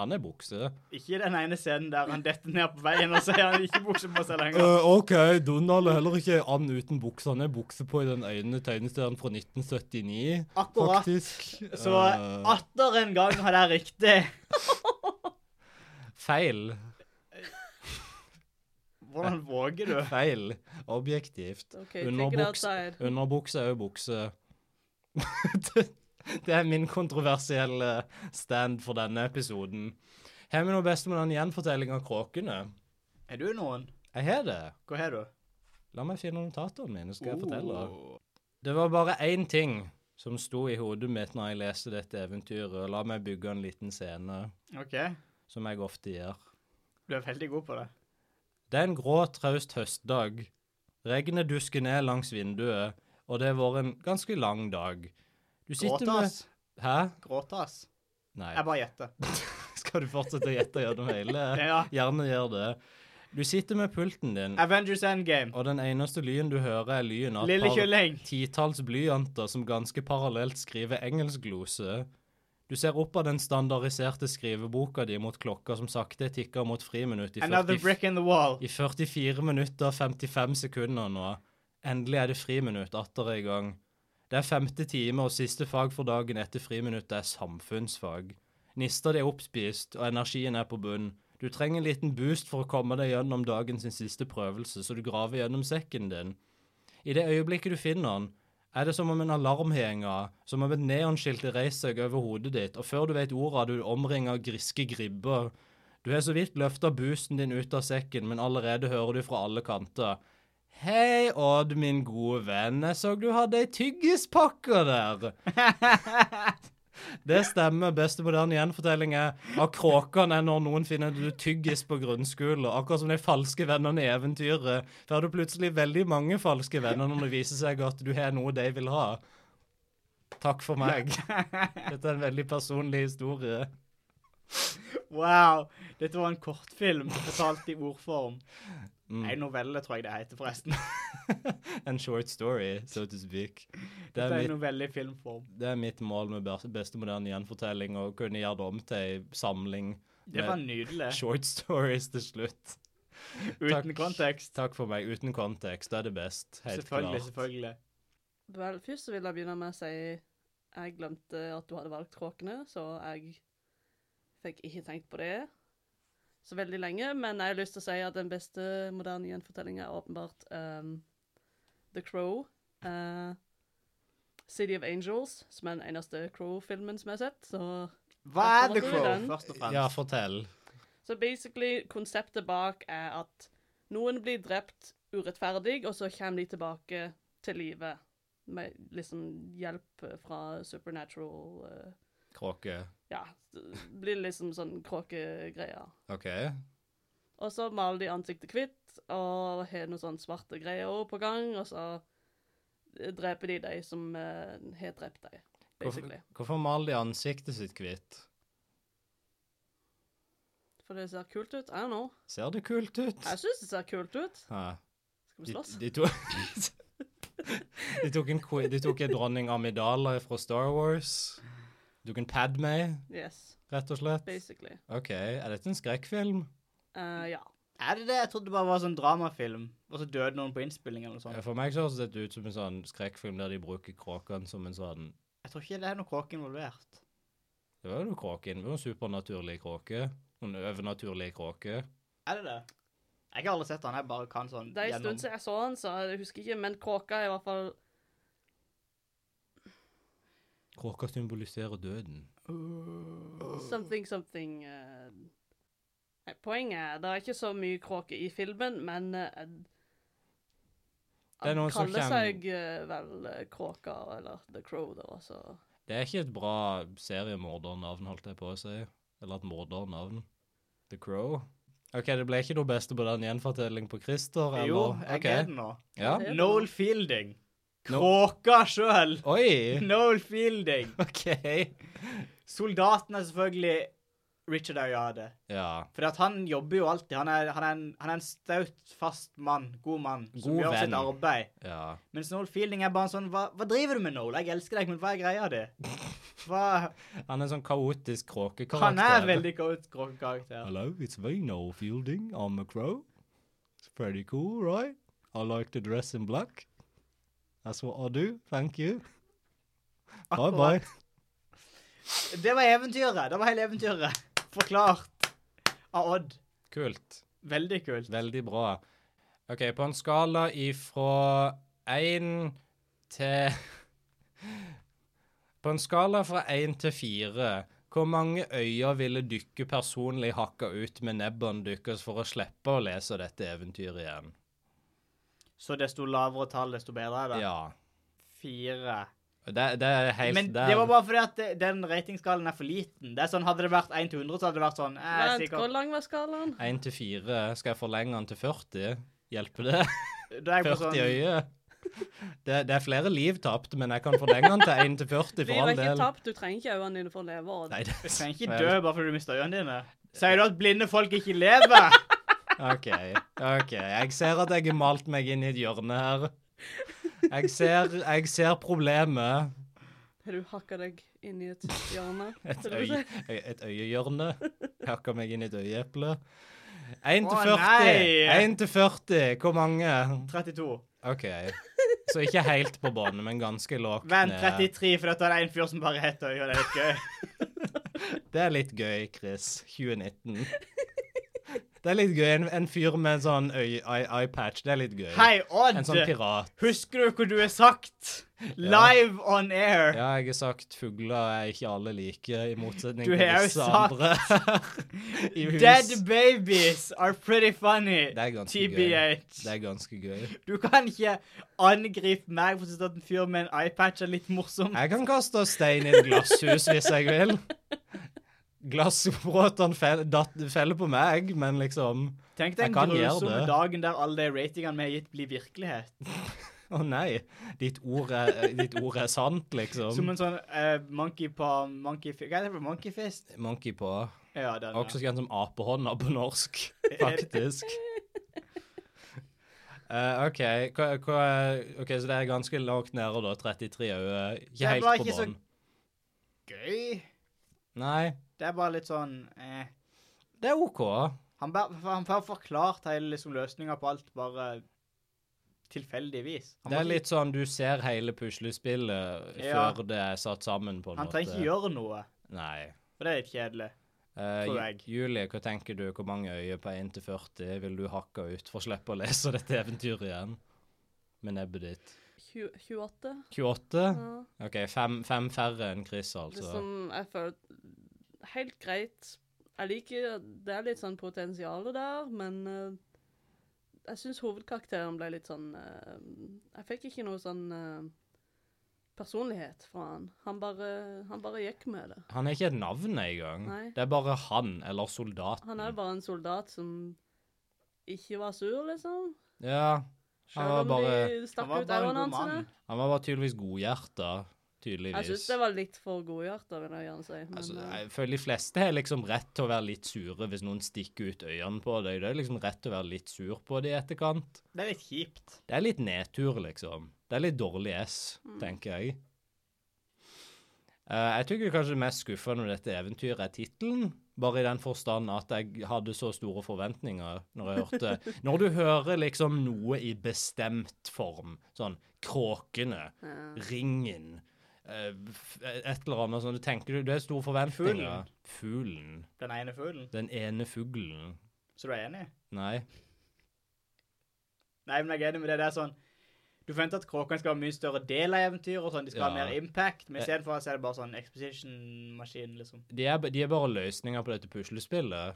Han er bukse. Ikke den ene scenen der han detter ned på veien og så har han ikke bukse på seg lenger. Eh, OK, Donald er heller ikke and uten bukse. Han er bukse på i den øynene tegneserien fra 1979, Akkurat. faktisk. Så Eh, atter en gang har jeg riktig. feil. Hvordan våger du? Feil. Objektivt. OK, take it Underbuks- outside. Underbukse er jo bukse. <laughs> det, det er min kontroversielle stand for denne episoden. Har vi noe best med den gjenfortellingen av kråkene? Er du noen? Jeg har det. Hva har du? La meg finne notatene mine, så skal jeg fortelle. Oh. Det var bare én ting som sto i hodet mitt når jeg leste dette eventyret, og la meg bygge en liten scene, OK. som jeg ofte gjør. Du er veldig god på det. Det er en grå, traust høstdag. Regnet dusker ned langs vinduet, og det har vært en ganske lang dag. Du sitter med Gråtas. Hæ? Gråtas. Nei. Jeg bare gjetter. <laughs> Skal du fortsette å gjette gjennom hele? <laughs> Ja. Gjerne gjør det. Du sitter med pulten din, Avengers Endgame. og den eneste lyden du hører, er lyden av Lille et par kylling. titalls blyanter som ganske parallelt skriver engelskglose. Du ser opp av den standardiserte skriveboka di mot klokka som sakte tikker mot friminutt i, Another 40, brick in the wall. i 44 minutter og 55 sekunder nå. Endelig er det friminutt, atter i gang. Det er femte time, og siste fag for dagen etter friminuttet er samfunnsfag. Nista di er oppspist, og energien er på bunn. Du trenger en liten boost for å komme deg gjennom dagens siste prøvelse, så du graver gjennom sekken din. I det øyeblikket du finner den, er det som om en alarm henger, som om et neonskilt reiser seg over hodet ditt, og før du vet ordet, er du omringet av griske gribber. Du har så vidt løfta boosten din ut av sekken, men allerede hører du fra alle kanter. Hei, Odd, min gode venn, jeg så du hadde ei tyggispakke der. Det stemmer. Beste moderne gjenfortelling er av kråkene er når noen finner du tyggis på grunnskolen. Akkurat som de falske vennene i eventyret. For har du plutselig veldig mange falske venner når det viser seg at du har noe de vil ha. Takk for meg. Dette er en veldig personlig historie. Wow. Dette var en kortfilm fortalt i ordform. Mm. Nei, novelle tror jeg det heter, forresten. En short story, so to speak. Det Det er er en mitt, novelle i filmform. det er mitt mål med bes- beste moderne gjenfortelling, å kunne gjøre det om til ei samling Det var nydelig. short stories til slutt. Uten takk. kontekst. Takk for meg. Uten kontekst, da er det best. Helt Selvfølgelig, klart. selvfølgelig. Vel, først så vil jeg begynne med å si jeg glemte at du hadde valgt kråkene, så jeg fikk ikke tenkt på det så veldig lenge. Men jeg har lyst til å si at den beste moderne gjenfortellingen er åpenbart um, The Crow. eh, City of Angels, som er den eneste Crow-filmen som jeg har sett. Så Hva er The Forstår du Crow, den? først og Ja, fremst? fortell. Så basically, konseptet bak er at noen blir drept urettferdig, og så kommer de tilbake til livet med liksom hjelp fra supernatural eh, Kråke. Ja, det blir liksom sånn kråkegreier. OK. Og så maler de ansiktet hvitt og har noen sånne svarte greier også på gang, og så dreper de de som eh, har drept dem, Hvorfor, basically. hvorfor maler de ansiktet sitt hvitt? For det ser kult ut. I don't know. Ser det kult ut? Jeg syns det ser kult ut. Ja. Skal vi De, slåss? de, to, <laughs> de tok en que- de tok en dronning Amidala fra Star Wars. De tok en Padme, Yes, rett og slett. basically. OK, er dette en skrekkfilm? Eh, ja. Er det det? Jeg trodde det bare var sånn dramafilm, og så døde noen på innspilling eller noe sånt. For meg så høres dette ut som en sånn skrekkfilm der de bruker kråkene som en sånn Jeg tror ikke det er noe kråke involvert. Det var jo kråken. Det var jo en supernaturlig kråke. En overnaturlig kråke. Er det det? Jeg har aldri sett han, jeg bare kan sånn Det er en stund siden jeg så han, så jeg husker ikke, men kråka er i hvert fall Kråka symboliserer døden. something, something eh. Nei, Poenget er det er ikke så mye kråke i filmen, men eh, en- Det er han noen som kaller kjem- seg eh, vel eh, Kråka, eller The Crow, da, så Det er ikke et bra seriemordernavn, holdt jeg på å si. Eller et mordernavn. The Crow. OK, det ble ikke noe beste på den gjenfortelling på Christer, eller? Jo, jeg Ok. er den nå. Ja. Det er Noel Fielding. Kråka sjøl! <laughs> Oi! Noel Fielding. OK. Soldaten er selvfølgelig Richard Ayade. Ja. For at han jobber jo alltid. Han er, han er, en, han er en staut, fast mann. God mann. Som God gjør venn. sitt arbeid. ja. Mens Noel Fielding er bare en sånn hva, hva driver du med, Noel? Jeg elsker deg, men hva er greia di? <laughs> Hva Han er en sånn kaotisk kråkekarakter. Han er veldig godt kråkekarakter. Hello, it's me, Noel Fielding. I'm a crow. It's pretty cool, right? I like to dress in black. That's what I do. Thank you. Bye-bye. Det var eventyret. Det var hele eventyret. <laughs> Forklart av Odd. Kult. Veldig kult. Veldig bra. OK, på en skala ifra én til På en skala fra én til fire, hvor mange øyer ville dere personlig hakka ut med nebbene deres for å slippe å lese dette eventyret igjen? Så desto lavere tall, desto bedre er det. Ja. Fire. Det, det er helt Men det var bare fordi at det- den ratingskalaen er for liten. Det er sånn, Hadde det vært 1 til 100, så hadde det vært sånn eh, Vent, hvor sikkert. lang var skalaen? Én til fire. Skal jeg forlenge den til 40? Hjelper det? Da er jeg på 40 sånn øyer? Det, det er flere liv tapt, men jeg kan forlenge den til 1 til 40 for Livet er all ikke del. tapt, du trenger ikke øynene dine for å leve. Og Nei, Du det trenger ikke Vel. dø bare fordi du mista øynene dine. Sier du at blinde folk ikke <laughs> lever? OK. ok. Jeg ser at jeg har malt meg inn i et hjørne her. Jeg ser, jeg ser problemet. Har du hakka deg inn <laughs> i et hjørne? Et, Skal du øy, se? øy- et øyehjørne. Jeg hakker meg inn i et øyeeple. 1 til Å, 40. nei. 1 til 40. Hvor mange? 32. OK. Så ikke helt på bånn, men ganske lågt Vent, ned. 33, for dette er det en fyr som bare heter Øy, og det er litt <laughs> gøy. Det er litt gøy, Chris. 2019. Det er litt gøy. En, en fyr med en sånn øy- eye- eyepatch, det er litt gøy. Hei, En sånn Odd! pirat. Husker du hvor du er <laughs> sagt? Live on air. Ja, jeg har sagt fugler er ikke alle like, i motsetning Du til har jo disse sagt- andre i hus. Dead babies are pretty funny. Det er ganske TBH. gøy. Det er ganske gøy. Du kan ikke angripe meg for å synes at en fyr med en eyepatch er litt morsom. Jeg kan kaste stein i et glasshus hvis jeg vil. Glassbråtene fell, datt- feller på meg, men liksom Tenk deg jeg den kan gjøre grusomme det. dagen der alle de ratingene vi har gitt, blir virkelighet. Å nei, ditt ord er, ditt ord er sant, liksom. Som en sånn eh, monkey på monkey fi- Hva heter det? for noe? Monkey fist? Monkey på. Ja, den. Også ja. kjent som apehånda på <laughs> norsk, faktisk. Eh, OK, hva, hva, ok, så det er ganske langt nede, da. 33 øyne. Det eh, Ikke er helt bare på ikke så- bånn. Gøy. Nei, Det er bare litt sånn eh, det er OK. Han bare- han får forklart hele liksom, løsninga på alt bare tilfeldigvis. Han Det må er ikke- litt sånn du ser hele puslespillet Ja. før det er satt sammen, på en Han måte. trenger ikke gjøre noe, Nei. og det er litt kjedelig. Eh, Tror Ju- jeg. Julie, hva tenker du? Hvor mange øyer på 1 til 40 vil du hakke ut for å slippe å lese <laughs> dette eventyret igjen? Med nebbet ditt. Tju- 28? 28? Ja. OK, fem, fem færre enn Chris, Mm. Det sånn altså. som jeg føler Helt greit. Jeg liker Det er litt sånn potensial der, men eh, jeg syns hovedkarakteren ble litt sånn eh, Jeg fikk ikke noe sånn eh, personlighet fra han. Han bare, han bare gikk med det. Han er ikke et navn engang. Nei. Det er bare han, eller soldaten. Han er bare en soldat som ikke var sur, liksom. Ja, Han Selv var om bare- de Han stakk var ut bare en øynene god hans. sine. mann. han var bare tydeligvis godhjerta, Jeg syns tydeligvis. det var litt for godhjerta, vil jeg gjerne si. Men, Altså, eh, jeg føler de fleste har liksom rett til å være litt sure hvis noen stikker ut øynene på deg. Det er liksom rett til å være litt sur på det i etterkant. Det er litt kjipt. Det er litt nedtur, liksom. Det er litt dårlig S, tenker jeg. Eh, jeg tykker kanskje det mest skuffende med dette eventyret er tittelen. Bare i den forstand at jeg hadde så store forventninger når jeg hørte Når du hører liksom noe i bestemt form, sånn Kråkene, Ringen, eh, f- et eller annet sånn, du tenker du Det er store forventninger. Fuglen. Den ene fuglen. Den ene fuglen. Så du er enig? Nei. Nei, men jeg er enig med det. Det er sånn Du forventer at kråkene skal ha mye større del av eventyret, og sånn, de skal ha Ja. mer impact, men istedenfor så er det bare sånn exposition-maskin, liksom. De er, de er bare løsninger på dette puslespillet,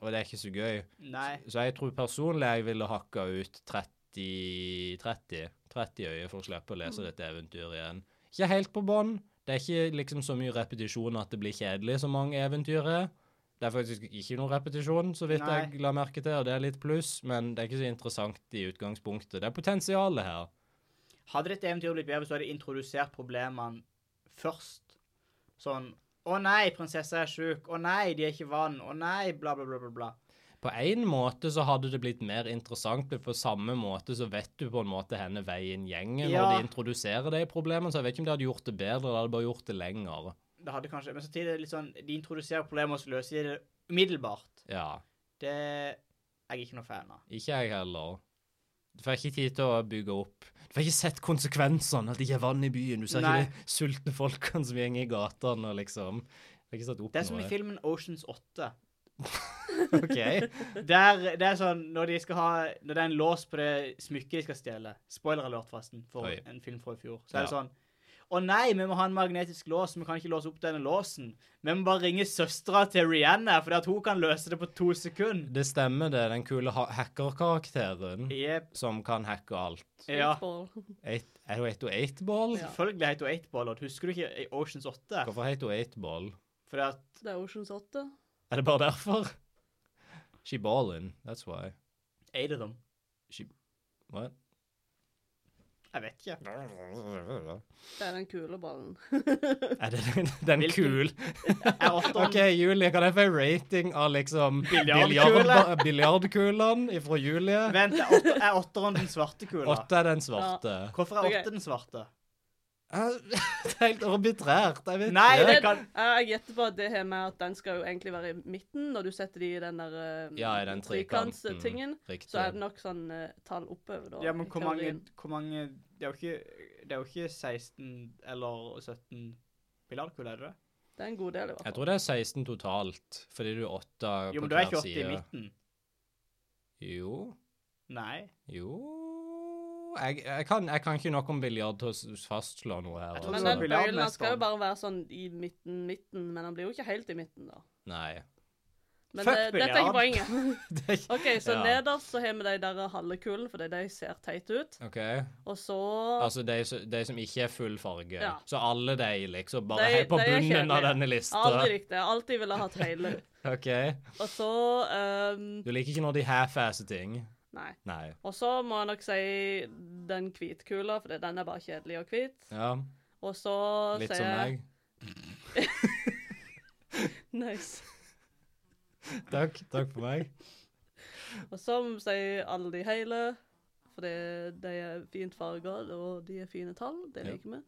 og det er ikke så gøy. Nei. Så jeg tror personlig jeg ville hakka ut 30 30, 30 øye for å slippe å Mm. lese dette eventyret igjen. Ikke helt på bånn. Det er ikke liksom så mye repetisjon at det blir kjedelig, så mange eventyr er. Det er faktisk ikke noe repetisjon, så vidt Nei. jeg la merke til, og det er litt pluss, men det er ikke så interessant i utgangspunktet. Det er potensialet her. Hadde dette eventyret blitt bedre hvis du hadde introdusert problemene først? Sånn Å nei, prinsessa er sjuk. Å nei, de er ikke vann. Å nei, bla, bla, bla, bla. bla. På en måte så hadde det blitt mer interessant, men på samme måte så vet du på en måte henne veien gjengen, Ja. når de introduserer de problemene, så jeg vet ikke om de hadde gjort det bedre, eller hadde bare gjort det lenger. Det hadde kanskje Men samtidig er det litt sånn De introduserer problemer, og så løser de det umiddelbart. Ja. Det er jeg ikke noe fan av. Ikke jeg heller. Du får ikke tid til å bygge opp. Du får ikke sett konsekvensene, at det ikke er vann i byen. Du ser Nei. ikke de sultne folkene som går i gatene og liksom. Du får ikke satt opp Det er som i noe. filmen Oceans 8. <laughs> OK. Der, det er sånn når de skal ha Når det er en lås på det smykket de skal stjele Spoiler alert, forresten, for Oi. en film fra i fjor. Så er det Ja. sånn Å nei, vi må ha en magnetisk lås, vi kan ikke låse opp denne låsen. Vi må bare ringe søstera til Rihanna, for at hun kan løse det på to sekunder. Det stemmer, det. Den kule ha- hackerkarakteren Jep. som som kan hacke alt. Ja. Baseball. Eight, er hun 8-8-ball? Selvfølgelig heter hun 8-ball. Husker du ikke i Oceans 8? Hvorfor heter hun 8-ball? Fordi at Det er Oceans 8. Er det bare derfor? She ballin', that's why. <laughs> Eight of them. She What? Jeg vet ikke. Det er den kule ballen. Er det den, den Hvilken? kul? Jeg er åtteren. OK, Julie, kan jeg få en rating av liksom Biljardkule? biljardba- biljardkulene fra Julie? Vent, er åtter- er åtteren den svarte kula? Åtte er den svarte. Hvorfor er Ok. åtte den svarte? Eh, <laughs> Det er helt arbitrært. Jeg vet Nei, ikke. det kan Ja, Jeg gjetter på at det her med at den skal jo egentlig være i midten, når du setter de i den der eh, Ja, i den trikantstingen, trikanten. Så er Riktig. det nok sånn eh, tall oppover, da. Ja, men i hvor mange, teorien. hvor mange det, er jo ikke, det er jo ikke 16 eller 17 biljardkuler, er det det? Det er en god del, i hvert Jeg fall. tror det er 16 totalt, fordi du er åtte på Jo, men da er hver ikke 80 i side. midten. Jo, Nei. jo jeg, jeg, kan, jeg kan ikke nok om biljard til å s- fastslå noe her. Jeg tror Men det altså. den var bøylen den skal biljardmesteren. jo bare være sånn i midten, midten, men den blir jo ikke helt i midten, da. Nei. Men Fuck det, dette er ikke poenget. Det er ikke <laughs> OK, så Ja. nederst så har vi de der halve kulene, fordi de ser teite ut. <laughs> OK. Og så Altså de, som- de som ikke er full farge. Ja. Så alle de, liksom. Bare De- helt på de er bunnen av denne kjedelige. Jeg har <laughs> aldri lista. likt det. Jeg har alltid ville hatt hele. <laughs> OK. Og så ehm, Du liker ikke når de half-asser ting? Nei. Nei. Og så må jeg nok si den hvitkula, for den er bare kjedelig og hvit. Ja, Og så litt sier som jeg meg. <laughs> Nice. Takk. Takk for meg. Og så sier alle de hele, for det, de er fint farger, og de er fine tall. Det Ja. liker vi.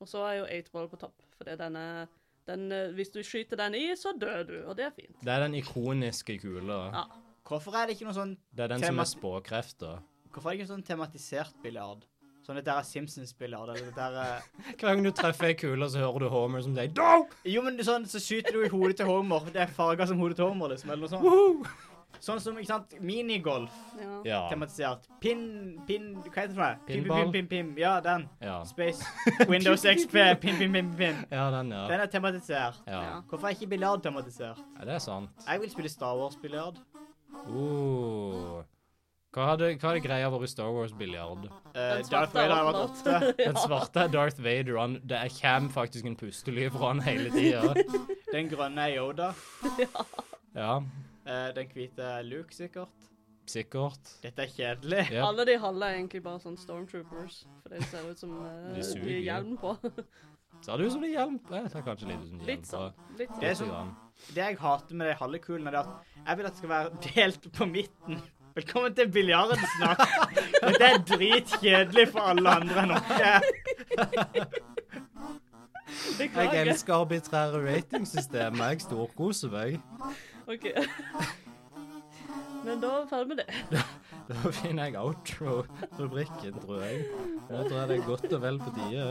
Og så er jo 8-ball på topp, for det er denne den, eh, Hvis du skyter den i, så dør du, og det er fint. Det er den ikoniske kula. Ja. Hvorfor er det ikke noe sånn Det er den som Tema- er spåkrefter. Hvorfor er det ikke noe sånn tematisert biljard? Sånn dette er Simpsons-biljard, eller eh, <laughs> dette er Hver gang du treffer ei kule, så hører du Homer som sier Dope! Jo, men sånn, så skyter du i hodet til Homer. for Det er farger som hodet til Homer, liksom, eller noe sånt. Sånn som, ikke sant, minigolf Ja. Ja. tematisert. Pin, pin, hva heter det for noe? Pim, Pinball? pim, pim, pim, pim. Ja, den. Ja. <laughs> Space. Windows XP. Pim, pim, pim, pim. ja, den, ja. Den er tematisert. ja. Ja. Hvorfor er ikke biljard tematisert? Ja, det er sant. Jeg vil spille Star Wars-biljard. Uh. Hva hadde, hva hadde greia vært Star Wars-biljard? Uh, svarte Darth Vader har <laughs> vært åtte. <laughs> overalt. Den svarte er Darth Vader. Han, det er- kommer faktisk en pustelyd fra han hele tida. Den grønne er Yoda. Ja, Eh, den hvite er Luke, sikkert. sikkert. Dette er kjedelig. Ja. Alle de halve er egentlig bare sånn stormtroopers, for det ser ut som eh, De suger. de har hjelm på. <laughs> Ser du ut som det hjelper? Jeg ser kanskje litt ut som det Litt hjelper. sånn. Litt Det er sånn. sånn- Grann. Det jeg hater med de halve kulene, er at jeg vil at det skal være delt på midten. Velkommen til biljardsnakk. Dette er dritkjedelig for alle andre enn oss. Jeg Beklager. elsker arbitrære ratingsystemer. Jeg storkoser meg. OK. <laughs> Men da er vi ferdig med det. <laughs> Da finner jeg outro-rubrikken, tror jeg. Nå tror jeg det er godt og vel på tide.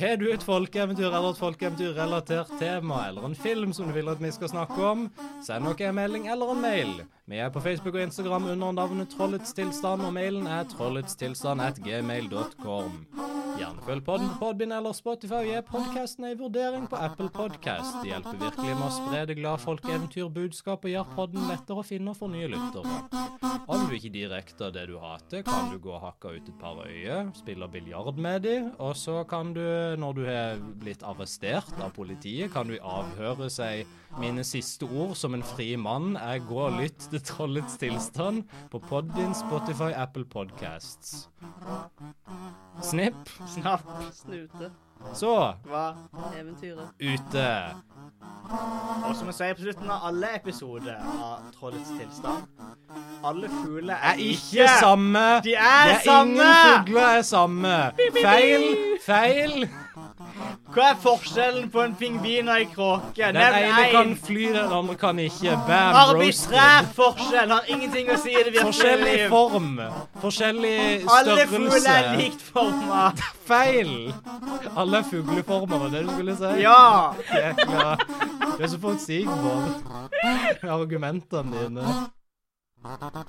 Har du et folkeeventyr eller et folkeeventyrrelatert tema eller en film som du vil at vi skal snakke om, send oss en melding eller en mail. Vi er på Facebook og Instagram under navnet Trollets tilstand, og mailen er trolletstilstand.gmail.com. Gjerne følg podden på Podbind eller Spotify og gi podkasten ei vurdering på Apple Podcast. Det hjelper virkelig med å spre det glade folkeeventyrbudskapet og gjør podden lettere å finne for nye lyttere. Om du ikke direkte er det du hater, kan du gå og hakke ut et par øyer, spille biljard med de, og så kan du, når du er blitt arrestert av politiet, kan du avhøre seg mine siste ord som en fri mann er gå og lytt til Trollets tilstand på Podbind, Spotify, Apple Podcasts. Snipp, Snapp. Snute. så Hva? Eventyret. ute. Og som jeg sier på slutten av alle episoder av Trollets tilstand Alle fugler Er er ikke samme. De er Det samme! Ingen fugler er samme. Feil, feil. Hva er forskjellen på en pingvin og en kråke? Den ene Nevn kan én. fly, den andre kan ikke. Bam, roasted. Arbitrær forskjell har ingenting å si i det virkelige Forskjellig liv. form. Forskjellig Alle fugler størrelse. er likt forma. <laughs> Feil. Alle er fugleformer, var det du skulle si? Ja. Jækla. Du er så forutsigbar. Argumentene dine.